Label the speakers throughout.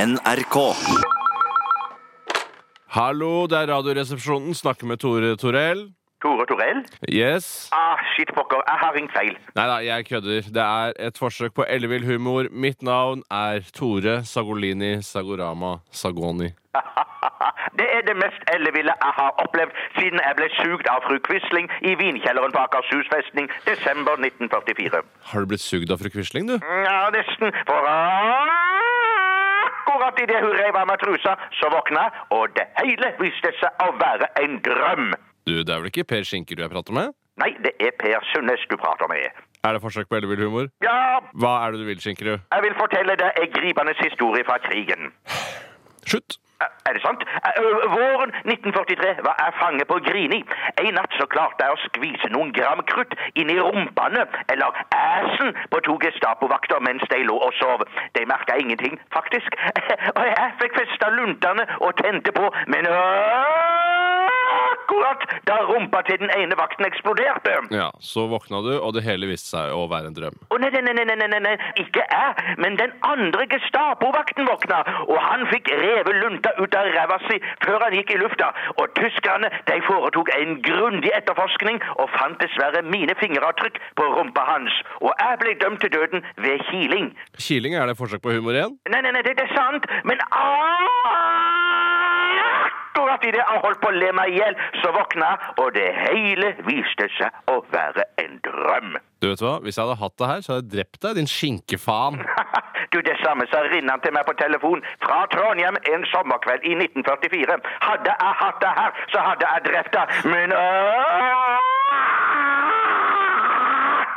Speaker 1: NRK.
Speaker 2: Hallo, det er Radioresepsjonen. Snakker med Tore Torell.
Speaker 3: Tore Torell?
Speaker 2: Yes.
Speaker 3: Ah, shit, pokker. Jeg har ringt feil.
Speaker 2: Nei da, jeg kødder. Det er et forsøk på ellevill humor. Mitt navn er Tore Sagolini Sagorama Sagoni.
Speaker 3: Det er det mest elleville jeg har opplevd siden jeg ble sugd av fru Quisling i vinkjelleren på Akershus festning desember 1944.
Speaker 2: Har du blitt sugd av fru Quisling, du?
Speaker 3: Ja, nesten. For akkurat idet hun reiv av meg trusa, så våkna jeg, og det hele viste seg å være en drøm.
Speaker 2: Du, Det er vel ikke Per Skinker du jeg prater med?
Speaker 3: Nei, det er Per Sundnes du prater med.
Speaker 2: Er det forsøk på ellevill humor?
Speaker 3: Ja,
Speaker 2: Hva er det du vil, Skinkerud?
Speaker 3: jeg vil fortelle deg en gripende historie fra krigen.
Speaker 2: Slutt.
Speaker 3: Er- Er det sant? Er- ø, Våren 1943 var jeg fange på Grini. En natt så klarte jeg å skvise noen gram krutt inn i rumpene, eller æsen, på to Gestapo-vakter mens de lå og sov. De merka ingenting, faktisk. Og jeg fikk festa luntene og tente på, men akkurat da rumpa til den ene vakten eksploderte.
Speaker 2: Ja, Så våkna du, og det hele viste seg å være en drøm.
Speaker 3: Å nei, nei, nei, nei, nei, nei, nei, ikke jeg, men den andre Gestapo-vakten våkna, og han fikk revet lunta ut av ræva si før han gikk i lufta. Og tyskerne de foretok en grundig etterforskning og fant dessverre mine fingeravtrykk på rumpa hans. Og jeg ble dømt til døden ved kiling.
Speaker 2: Kiling, er det forsøk på humor igjen?
Speaker 3: Nei, nei, nei, det, det er sant, men akkurat idet jeg holdt på å le meg i hjel, så våkna jeg, og det hele viste seg å være en drøm.
Speaker 2: Du vet hva, Hvis jeg hadde hatt det her, så hadde jeg drept deg, din skinkefaen.
Speaker 3: Du, det samme sa Rinnan til meg på telefon fra Trondheim en sommerkveld i 1944. Hadde jeg hatt det her, så hadde jeg drept deg, men øh,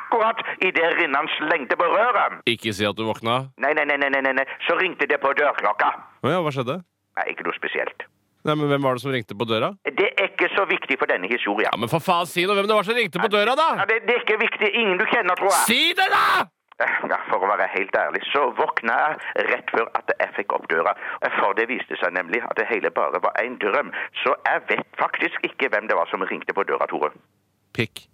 Speaker 3: Akkurat idet Rinnan slengte på røret.
Speaker 2: Ikke si at du våkna.
Speaker 3: Nei, nei, nei, nei, nei, nei, nei, så ringte det på dørklokka.
Speaker 2: Å ja, hva skjedde?
Speaker 3: Nei, ikke noe spesielt.
Speaker 2: Nei, men Hvem var det som ringte på døra?
Speaker 3: Det er ikke så viktig for denne historien.
Speaker 2: Ja, Men for faen, si noe hvem det var som ringte på døra,
Speaker 3: Ja,
Speaker 2: da!
Speaker 3: det, det er ikke viktig. Ingen du kjenner, tror jeg.
Speaker 2: Si det, da!
Speaker 3: Ja, For å være helt ærlig, så våkna jeg rett før at jeg fikk opp døra. For det viste seg nemlig at det hele bare var en drøm. Så jeg vet faktisk ikke hvem det var som ringte på døra, Tore.
Speaker 2: Pikk.